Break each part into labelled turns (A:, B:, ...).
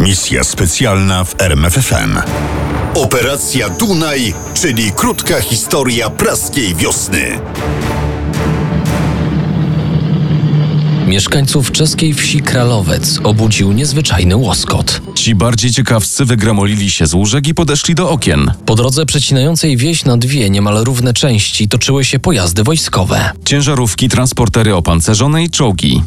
A: Misja specjalna w RMFFM. Operacja Dunaj, czyli krótka historia praskiej wiosny.
B: Mieszkańców czeskiej wsi Kralowiec obudził niezwyczajny łoskot.
C: Ci bardziej ciekawscy wygramolili się z łóżek i podeszli do okien.
B: Po drodze przecinającej wieś na dwie niemal równe części toczyły się pojazdy wojskowe.
C: Ciężarówki, transportery opancerzone i czołgi.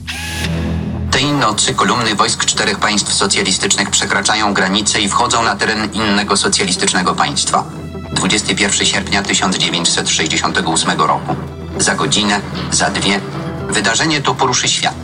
D: Tej nocy kolumny wojsk czterech państw socjalistycznych przekraczają granice i wchodzą na teren innego socjalistycznego państwa. 21 sierpnia 1968 roku. Za godzinę, za dwie, wydarzenie to poruszy świat.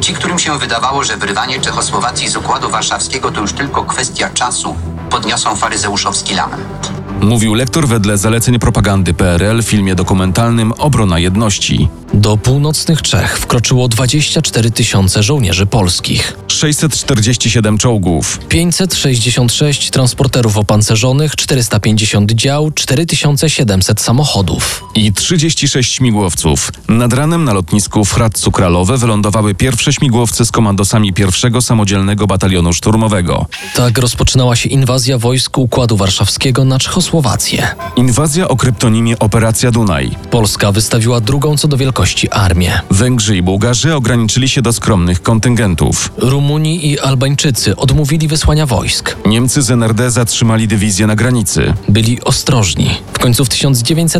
D: Ci, którym się wydawało, że wyrwanie Czechosłowacji z Układu Warszawskiego to już tylko kwestia czasu, podniosą faryzeuszowski lament.
C: Mówił lektor wedle zaleceń propagandy PRL w filmie dokumentalnym Obrona Jedności.
B: Do północnych Czech wkroczyło 24 tysiące żołnierzy polskich,
C: 647 czołgów,
B: 566 transporterów opancerzonych, 450 dział, 4700 samochodów.
C: i 36 śmigłowców. Nad ranem na lotnisku w Hradcu Kralowe wylądowały pierwsze śmigłowce z komandosami pierwszego samodzielnego batalionu szturmowego.
B: Tak rozpoczynała się inwazja wojsk Układu Warszawskiego na Czechosłowację.
C: Inwazja o kryptonimie Operacja Dunaj.
B: Polska wystawiła drugą co do wielkości armię.
C: Węgrzy i Bułgarzy ograniczyli się do skromnych kontyngentów.
B: Rumuni i Albańczycy odmówili wysłania wojsk.
C: Niemcy z NRD zatrzymali dywizję na granicy.
B: Byli ostrożni. W końcu w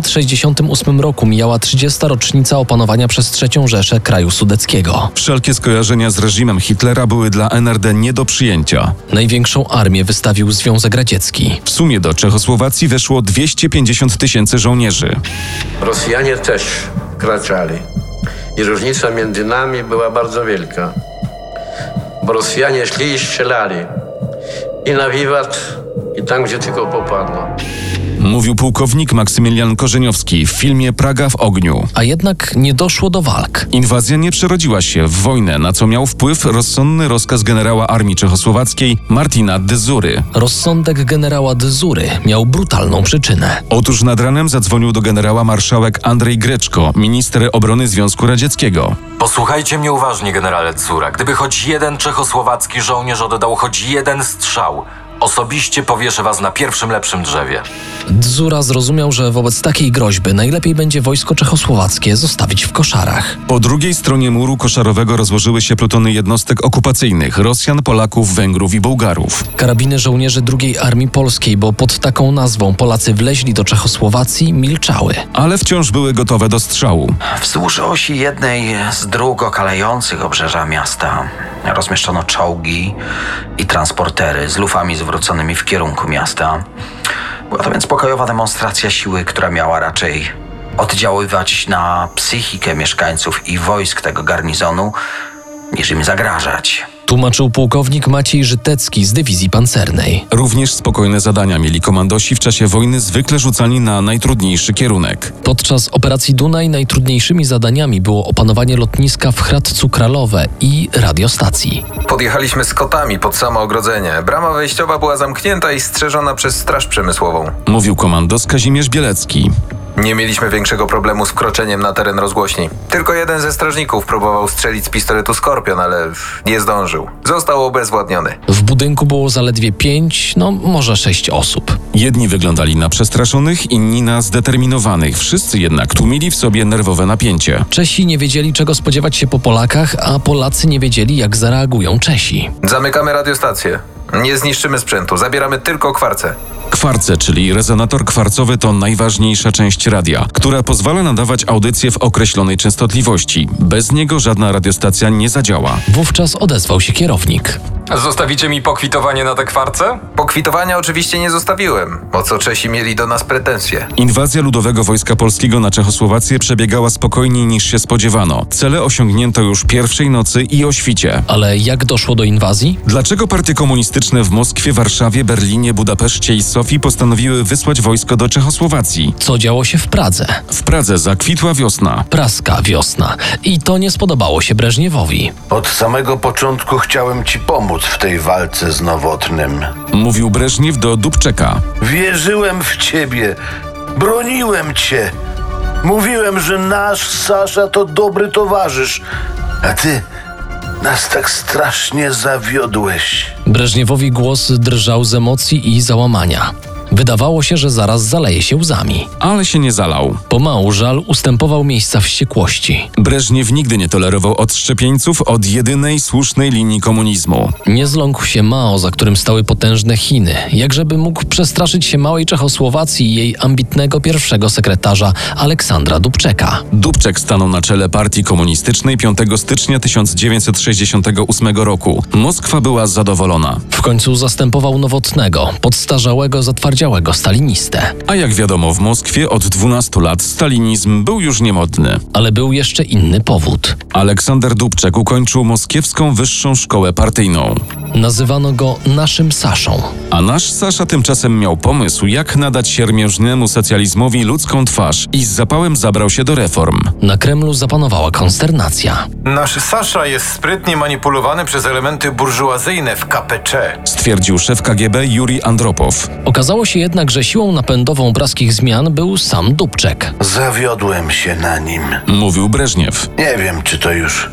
B: 1968 roku mijała 30. rocznica opanowania przez III Rzeszę kraju sudeckiego.
C: Wszelkie skojarzenia z reżimem Hitlera były dla NRD nie do przyjęcia.
B: Największą armię wystawił Związek Radziecki.
C: W sumie do Czechosłowacji weszło 250 tysięcy żołnierzy.
E: Rosjanie też wkraczali. I różnica między nami była bardzo wielka. Bo Rosjanie szli i strzelali. I na wiwat, i tam, gdzie tylko popadło.
C: Mówił pułkownik Maksymilian Korzeniowski w filmie Praga w ogniu.
B: A jednak nie doszło do walk.
C: Inwazja nie przerodziła się w wojnę, na co miał wpływ rozsądny rozkaz generała armii czechosłowackiej Martina Dyzury.
B: Rozsądek generała Dyzury miał brutalną przyczynę.
C: Otóż nad ranem zadzwonił do generała marszałek Andrzej Greczko, minister obrony Związku Radzieckiego.
F: Posłuchajcie mnie uważnie, generale Cura. Gdyby choć jeden czechosłowacki żołnierz oddał choć jeden strzał, osobiście powieszę was na pierwszym lepszym drzewie.
B: Dzura zrozumiał, że wobec takiej groźby najlepiej będzie wojsko czechosłowackie zostawić w koszarach.
C: Po drugiej stronie muru koszarowego rozłożyły się plutony jednostek okupacyjnych Rosjan, Polaków, Węgrów i Bułgarów.
B: Karabiny żołnierzy II Armii Polskiej, bo pod taką nazwą Polacy wleźli do Czechosłowacji, milczały.
C: Ale wciąż były gotowe do strzału.
G: Wzdłuż osi jednej z dróg okalejących obrzeża miasta rozmieszczono czołgi i transportery z lufami zwróconymi w kierunku miasta. Była to więc pokojowa demonstracja siły, która miała raczej oddziaływać na psychikę mieszkańców i wojsk tego garnizonu, niż im zagrażać.
B: Tłumaczył pułkownik Maciej Żytecki z dywizji pancernej.
C: Również spokojne zadania mieli komandosi w czasie wojny zwykle rzucani na najtrudniejszy kierunek.
B: Podczas operacji Dunaj najtrudniejszymi zadaniami było opanowanie lotniska w Hradcu Kralowe i radiostacji.
H: Podjechaliśmy z kotami pod samo ogrodzenie. Brama wejściowa była zamknięta i strzeżona przez Straż Przemysłową.
C: Mówił komandos Kazimierz Bielecki.
H: Nie mieliśmy większego problemu z wkroczeniem na teren rozgłośni. Tylko jeden ze strażników próbował strzelić z pistoletu Skorpion, ale nie zdążył. Został obezwładniony.
B: W budynku było zaledwie pięć, no może sześć osób.
C: Jedni wyglądali na przestraszonych, inni na zdeterminowanych. Wszyscy jednak tłumili w sobie nerwowe napięcie.
B: Czesi nie wiedzieli, czego spodziewać się po Polakach, a Polacy nie wiedzieli, jak zareagują Czesi.
H: Zamykamy radiostację. Nie zniszczymy sprzętu, zabieramy tylko kwarce.
C: Kwarce, czyli rezonator kwarcowy, to najważniejsza część radia, która pozwala nadawać audycje w określonej częstotliwości. Bez niego żadna radiostacja nie zadziała.
B: Wówczas odezwał się kierownik.
I: Zostawicie mi pokwitowanie na te kwarce?
H: Pokwitowania oczywiście nie zostawiłem, o co Czesi mieli do nas pretensje.
C: Inwazja Ludowego Wojska Polskiego na Czechosłowację przebiegała spokojniej niż się spodziewano. Cele osiągnięto już pierwszej nocy i o świcie.
B: Ale jak doszło do inwazji?
C: Dlaczego partie komunistyczne w Moskwie, Warszawie, Berlinie, Budapeszcie i Sofii postanowiły wysłać wojsko do Czechosłowacji?
B: Co działo się w Pradze?
C: W Pradze zakwitła wiosna.
B: Praska wiosna. I to nie spodobało się Breżniewowi.
J: Od samego początku chciałem ci pomóc w tej walce z nowotnym.
C: Mówił Breżniew do Dubczeka.
J: Wierzyłem w ciebie, broniłem cię. Mówiłem, że nasz Sasza to dobry towarzysz. A ty, Nas tak strasznie zawiodłeś.
B: Breżniewowi głos drżał z emocji i załamania. Wydawało się, że zaraz zaleje się łzami.
C: Ale się nie zalał.
B: Pomału żal ustępował miejsca wściekłości.
C: Breżniew nigdy nie tolerował odszczepieńców od jedynej słusznej linii komunizmu.
B: Nie zląkł się Mao, za którym stały potężne Chiny, jakżeby mógł przestraszyć się małej Czechosłowacji i jej ambitnego pierwszego sekretarza Aleksandra Dubczeka.
C: Dubczek stanął na czele partii komunistycznej 5 stycznia 1968 roku. Moskwa była zadowolona.
B: W końcu zastępował nowotnego, podstarzałego, zatwardziałego stalinistę.
C: A jak wiadomo, w Moskwie od 12 lat stalinizm był już niemodny.
B: Ale był jeszcze inny powód.
C: Aleksander Dubczek ukończył moskiewską wyższą szkołę partyjną.
B: Nazywano go naszym Saszą.
C: A nasz Sasza tymczasem miał pomysł, jak nadać siermiężnemu socjalizmowi ludzką twarz i z zapałem zabrał się do reform.
B: Na Kremlu zapanowała konsternacja.
K: Nasz Sasza jest sprytnie manipulowany przez elementy burżuazyjne w KPC.
C: Stwierdził szef KGB Juri Andropow.
B: Okazało się jednak, że siłą napędową braskich zmian był sam Dubczek.
J: Zawiodłem się na nim.
C: Mówił Breżniew.
J: Nie wiem, czy to już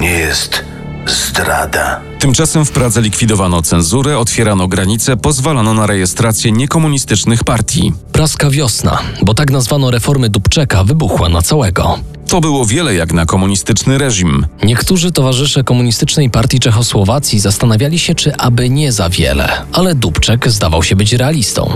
J: nie jest zdrada.
C: Tymczasem w Pradze likwidowano cenzurę, otwierano granice, pozwalano na rejestrację niekomunistycznych partii.
B: Praska wiosna, bo tak nazwano reformy Dubczeka, wybuchła na całego.
C: To było wiele jak na komunistyczny reżim.
B: Niektórzy towarzysze Komunistycznej Partii Czechosłowacji zastanawiali się, czy aby nie za wiele, ale Dubczek zdawał się być realistą.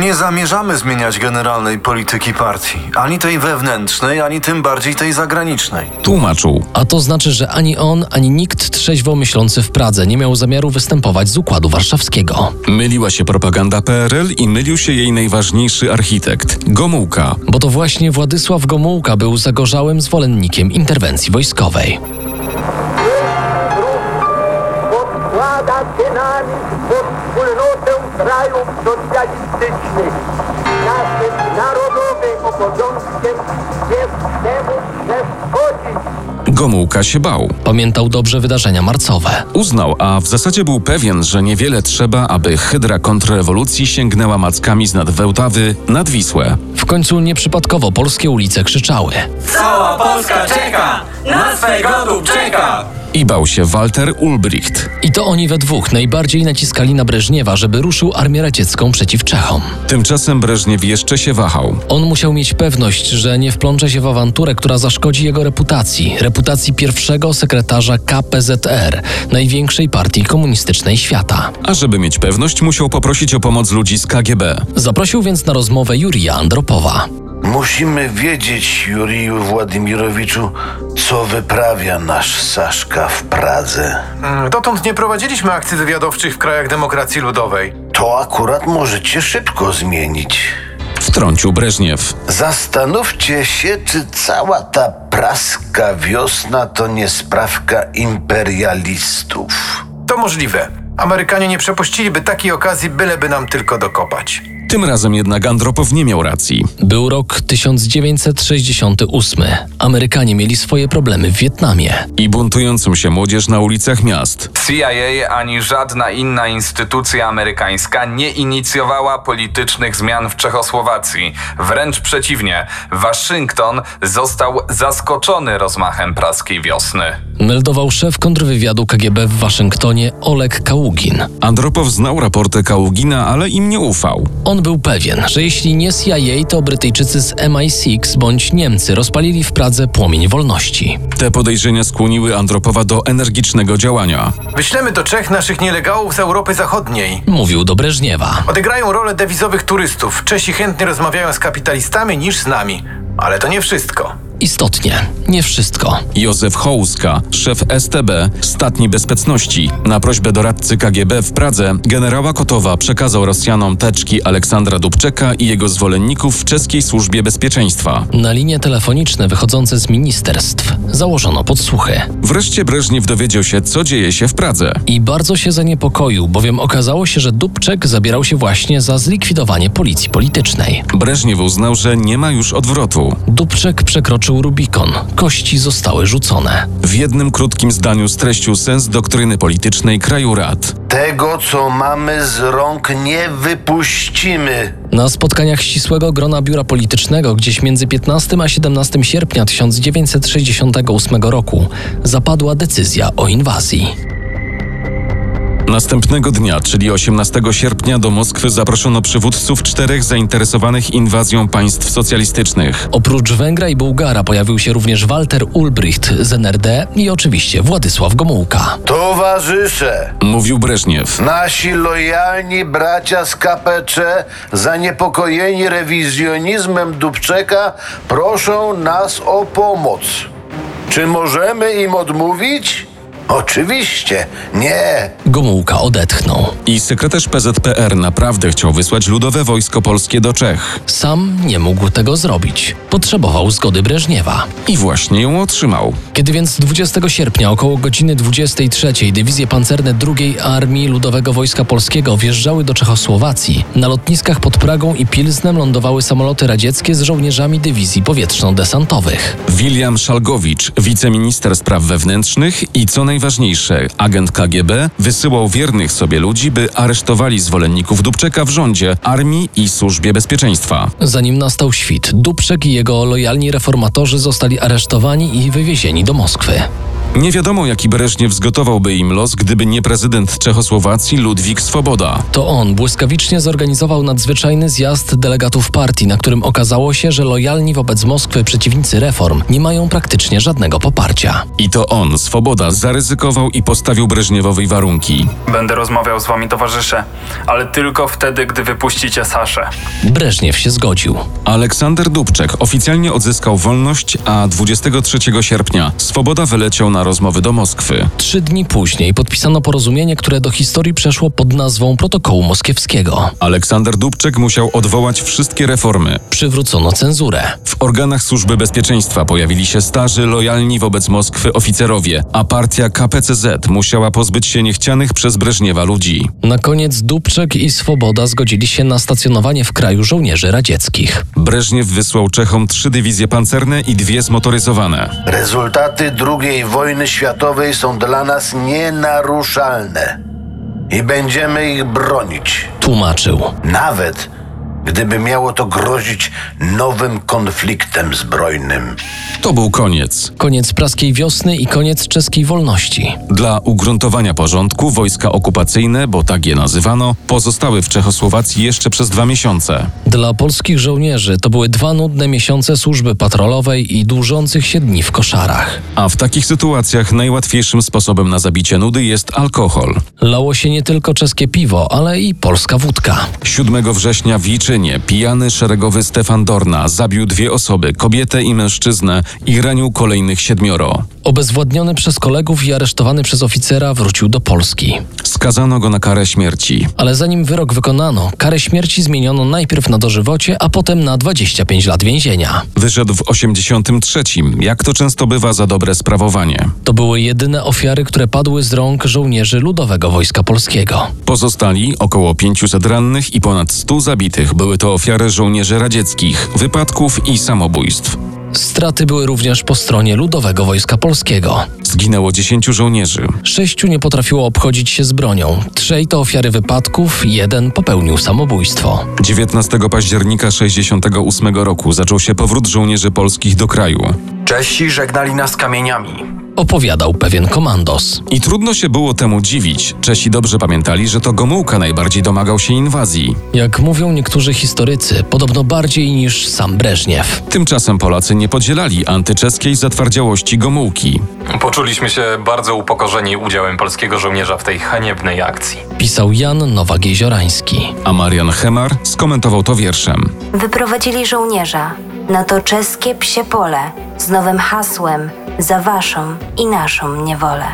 K: Nie zamierzamy zmieniać generalnej polityki partii, ani tej wewnętrznej, ani tym bardziej tej zagranicznej.
C: Tłumaczył.
B: A to znaczy, że ani on, ani nikt trzeźwo myślący w Pradze nie miał zamiaru występować z Układu Warszawskiego.
C: Myliła się propaganda PRL i mylił się jej najważniejszy architekt Gomułka.
B: Bo to właśnie Władysław Gomułka był zagorzałym zwolennikiem interwencji wojskowej.
L: składa się na nich pod wspólnotę krajów socjalistycznych. Naszym narodowym obowiązkiem jest temu przeszkodzić.
C: Gomułka się bał.
B: Pamiętał dobrze wydarzenia marcowe.
C: Uznał, a w zasadzie był pewien, że niewiele trzeba, aby hydra kontrrewolucji sięgnęła mackami z nadwełtawy nad Wisłę.
B: W końcu nieprzypadkowo polskie ulice krzyczały.
M: Cała Polska czeka! Na swego czeka!
C: I bał się Walter Ulbricht.
B: I to oni we dwóch najbardziej naciskali na Breżniewa, żeby ruszył armię radziecką przeciw Czechom.
C: Tymczasem Breżniew jeszcze się wahał.
B: On musiał mieć pewność, że nie wplącze się w awanturę, która zaszkodzi jego reputacji, reputacji pierwszego sekretarza KPZR, największej partii komunistycznej świata.
C: A żeby mieć pewność, musiał poprosić o pomoc ludzi z KGB.
B: Zaprosił więc na rozmowę Jurija Andropowa.
J: Musimy wiedzieć, Juriju Władimirowiczu, co wyprawia nasz Saszka w Pradze.
K: Mm, Dotąd nie prowadziliśmy akcji wywiadowczych w krajach demokracji ludowej.
J: To akurat możecie szybko zmienić.
C: Wtrącił Breżniew.
J: Zastanówcie się, czy cała ta praska wiosna to nie sprawka imperialistów.
K: To możliwe. Amerykanie nie przepuściliby takiej okazji, byleby nam tylko dokopać.
C: Tym razem jednak Andropow nie miał racji.
B: Był rok 1968. Amerykanie mieli swoje problemy w Wietnamie.
C: I buntującą się młodzież na ulicach miast.
I: CIA ani żadna inna instytucja amerykańska nie inicjowała politycznych zmian w Czechosłowacji. Wręcz przeciwnie, Waszyngton został zaskoczony rozmachem praskiej wiosny.
B: Meldował szef kontrwywiadu KGB w Waszyngtonie Oleg Kaługin.
C: Andropow znał raporty Kaługina, ale im nie ufał.
B: On był pewien, że jeśli nie CIA, to Brytyjczycy z MI6 bądź Niemcy rozpalili w Pradze płomień wolności.
C: Te podejrzenia skłoniły Andropowa do energicznego działania.
K: Wyślemy do Czech naszych nielegałów z Europy Zachodniej.
B: Mówił do Breżniewa.
K: Odegrają rolę dewizowych turystów. Czesi chętnie rozmawiają z kapitalistami niż z nami. Ale to nie wszystko.
B: Istotnie, nie wszystko.
C: Józef Hołuska, szef STB, statni bezpieczności, na prośbę doradcy KGB w Pradze, generała Kotowa przekazał Rosjanom teczki Aleksandra Dubczeka i jego zwolenników w czeskiej służbie bezpieczeństwa.
B: Na linie telefoniczne wychodzące z ministerstw założono podsłuchy.
C: Wreszcie Breżniew dowiedział się, co dzieje się w Pradze.
B: I bardzo się zaniepokoił, bowiem okazało się, że Dubczek zabierał się właśnie za zlikwidowanie policji politycznej.
C: Breżniew uznał, że nie ma już odwrotu.
B: Dubczek przekroczył przekroczył Rubikon. Kości zostały rzucone.
C: W jednym krótkim zdaniu streścił sens doktryny politycznej kraju rad.
J: Tego, co mamy z rąk, nie wypuścimy.
B: Na spotkaniach ścisłego grona biura politycznego gdzieś między 15 a 17 sierpnia 1968 roku zapadła decyzja o inwazji.
C: Następnego dnia, czyli 18 sierpnia, do Moskwy zaproszono przywódców czterech zainteresowanych inwazją państw socjalistycznych.
B: Oprócz Węgra i Bułgara pojawił się również Walter Ulbricht z NRD i oczywiście Władysław Gomułka.
J: Towarzysze,
C: Mówił Breżniew.
J: nasi lojalni bracia z KPC, zaniepokojeni rewizjonizmem Dubczeka, proszą nas o pomoc. Czy możemy im odmówić? Oczywiście, nie.
B: Gomułka odetchnął.
C: I sekretarz PZPR naprawdę chciał wysłać Ludowe Wojsko Polskie do Czech.
B: Sam nie mógł tego zrobić. Potrzebował zgody Breżniewa.
C: I właśnie ją otrzymał.
B: Kiedy więc 20 sierpnia około godziny 23 dywizje pancerne II Armii Ludowego Wojska Polskiego wjeżdżały do Czechosłowacji, na lotniskach pod Pragą i Pilznem lądowały samoloty radzieckie z żołnierzami dywizji powietrzno-desantowych.
C: William Szalgowicz, wiceminister spraw wewnętrznych i co najważniejsze, agent KGB, wysyłał wiernych sobie ludzi, by aresztowali zwolenników Dubczeka w rządzie, armii i służbie bezpieczeństwa.
B: Zanim nastał świt, Dubczek i jego lojalni reformatorzy zostali aresztowani i wywiezieni do Moskwy.
C: Nie wiadomo, jaki Breżniew zgotowałby im los, gdyby nie prezydent Czechosłowacji Ludwik Swoboda.
B: To on błyskawicznie zorganizował nadzwyczajny zjazd delegatów partii, na którym okazało się, że lojalni wobec Moskwy przeciwnicy reform nie mają praktycznie żadnego poparcia.
C: I to on, Swoboda, zaryzykował i postawił Breżniewowi warunki.
N: Będę rozmawiał z wami, towarzysze, ale tylko wtedy, gdy wypuścicie Saszę.
B: Breżniew się zgodził.
C: Aleksander Dubczek oficjalnie odzyskał wolność, a 23 sierpnia Swoboda wyleciał na rozmowy do Moskwy.
B: Trzy dni później podpisano porozumienie, które do historii przeszło pod nazwą Protokołu Moskiewskiego.
C: Aleksander Dubczek musiał odwołać wszystkie reformy.
B: Przywrócono cenzurę.
C: W organach służby bezpieczeństwa pojawili się starzy, lojalni wobec Moskwy oficerowie, a partia KPCZ musiała pozbyć się niechcianych przez Breżniewa ludzi.
B: Na koniec Dubczek i Swoboda zgodzili się na stacjonowanie w kraju żołnierzy radzieckich.
C: Breżniew wysłał Czechom trzy dywizje pancerne i dwie zmotoryzowane.
J: Rezultaty II wojny światowej są dla nas nienaruszalne i będziemy ich bronić,
B: Tłumaczył.
J: nawet gdyby miało to grozić nowym konfliktem zbrojnym.
C: To był koniec.
B: Koniec praskiej wiosny i koniec czeskiej wolności.
C: Dla ugruntowania porządku wojska okupacyjne, bo tak je nazywano, pozostały w Czechosłowacji jeszcze przez dwa miesiące.
B: Dla polskich żołnierzy to były dwa nudne miesiące służby patrolowej i dłużących się dni w koszarach.
C: A w takich sytuacjach najłatwiejszym sposobem na zabicie nudy jest alkohol.
B: Lało się nie tylko czeskie piwo, ale i polska wódka.
C: 7 września w Liczynie pijany szeregowy Stefan Dorna zabił dwie osoby, kobietę i mężczyznę, i ranił kolejnych siedmioro.
B: Obezwładniony przez kolegów i aresztowany przez oficera wrócił do Polski.
C: Skazano go na karę śmierci.
B: Ale zanim wyrok wykonano, karę śmierci zmieniono najpierw na dożywocie, a potem na 25 lat więzienia.
C: Wyszedł w 83, jak to często bywa za dobre sprawowanie.
B: To były jedyne ofiary, które padły z rąk żołnierzy Ludowego Wojska Polskiego.
C: Pozostali, około 500 rannych i ponad 100 zabitych, były to ofiary żołnierzy radzieckich, wypadków i samobójstw.
B: Straty były również po stronie Ludowego Wojska Polskiego.
C: Zginęło 10 żołnierzy.
B: Sześciu nie potrafiło obchodzić się z bronią, trzej to ofiary wypadków, jeden popełnił samobójstwo.
C: 19 października 68 roku zaczął się powrót żołnierzy polskich do kraju.
G: Czesi żegnali nas kamieniami.
B: Opowiadał pewien komandos.
C: I trudno się było temu dziwić. Czesi dobrze pamiętali, że to Gomułka najbardziej domagał się inwazji.
B: Jak mówią niektórzy historycy, podobno bardziej niż sam Breżniew.
C: Tymczasem Polacy nie podzielali antyczeskiej zatwardziałości Gomułki.
O: Poczuliśmy się bardzo upokorzeni udziałem polskiego żołnierza w tej haniebnej akcji.
B: Pisał Jan Nowak-Jeziorański.
C: A Marian Hemar skomentował to wierszem.
P: Wyprowadzili żołnierza na to czeskie psie pole z nowym hasłem za waszą i naszą niewolę.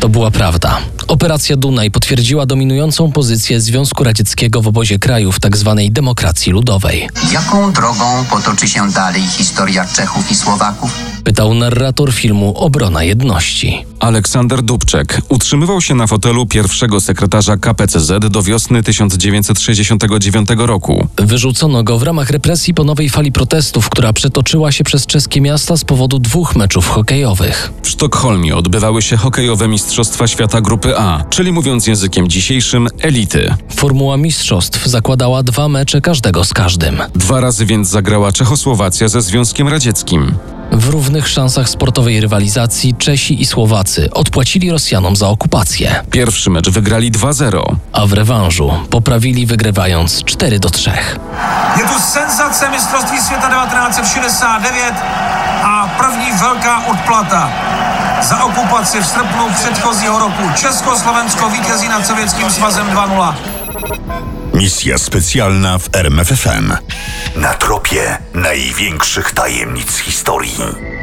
B: To była prawda. Operacja Dunaj potwierdziła dominującą pozycję Związku Radzieckiego w obozie krajów tzw. demokracji ludowej.
D: Jaką drogą potoczy się dalej historia Czechów i Słowaków?
B: Pytał narrator filmu Obrona Jedności.
C: Aleksander Dubczek utrzymywał się na fotelu pierwszego sekretarza KPCZ do wiosny 1969 roku.
B: Wyrzucono go w ramach represji po nowej fali protestów, która przetoczyła się przez czeskie miasta z powodu dwóch meczów hokejowych.
C: W Sztokholmie odbywały się hokejowe Mistrzostwa Świata Grupy A, czyli mówiąc językiem dzisiejszym, elity.
B: Formuła mistrzostw zakładała dwa mecze każdego z każdym.
C: Dwa razy więc zagrała Czechosłowacja ze Związkiem Radzieckim.
B: W równych szansach sportowej rywalizacji Czesi i Słowacy odpłacili Rosjanom za okupację,
C: Pierwszy mecz wygrali 2-0.
B: a w rewanżu poprawili wygrywając 4 do 3.
H: Je tu senzace mistrovství světa 1969 a první velká odplata za okupaci v srpnu předchozího roku. Československo vítězí nad Sovětským svazem 2-0.
A: Misja specjalna w RMFFM. Na tropie największych tajemnic historii.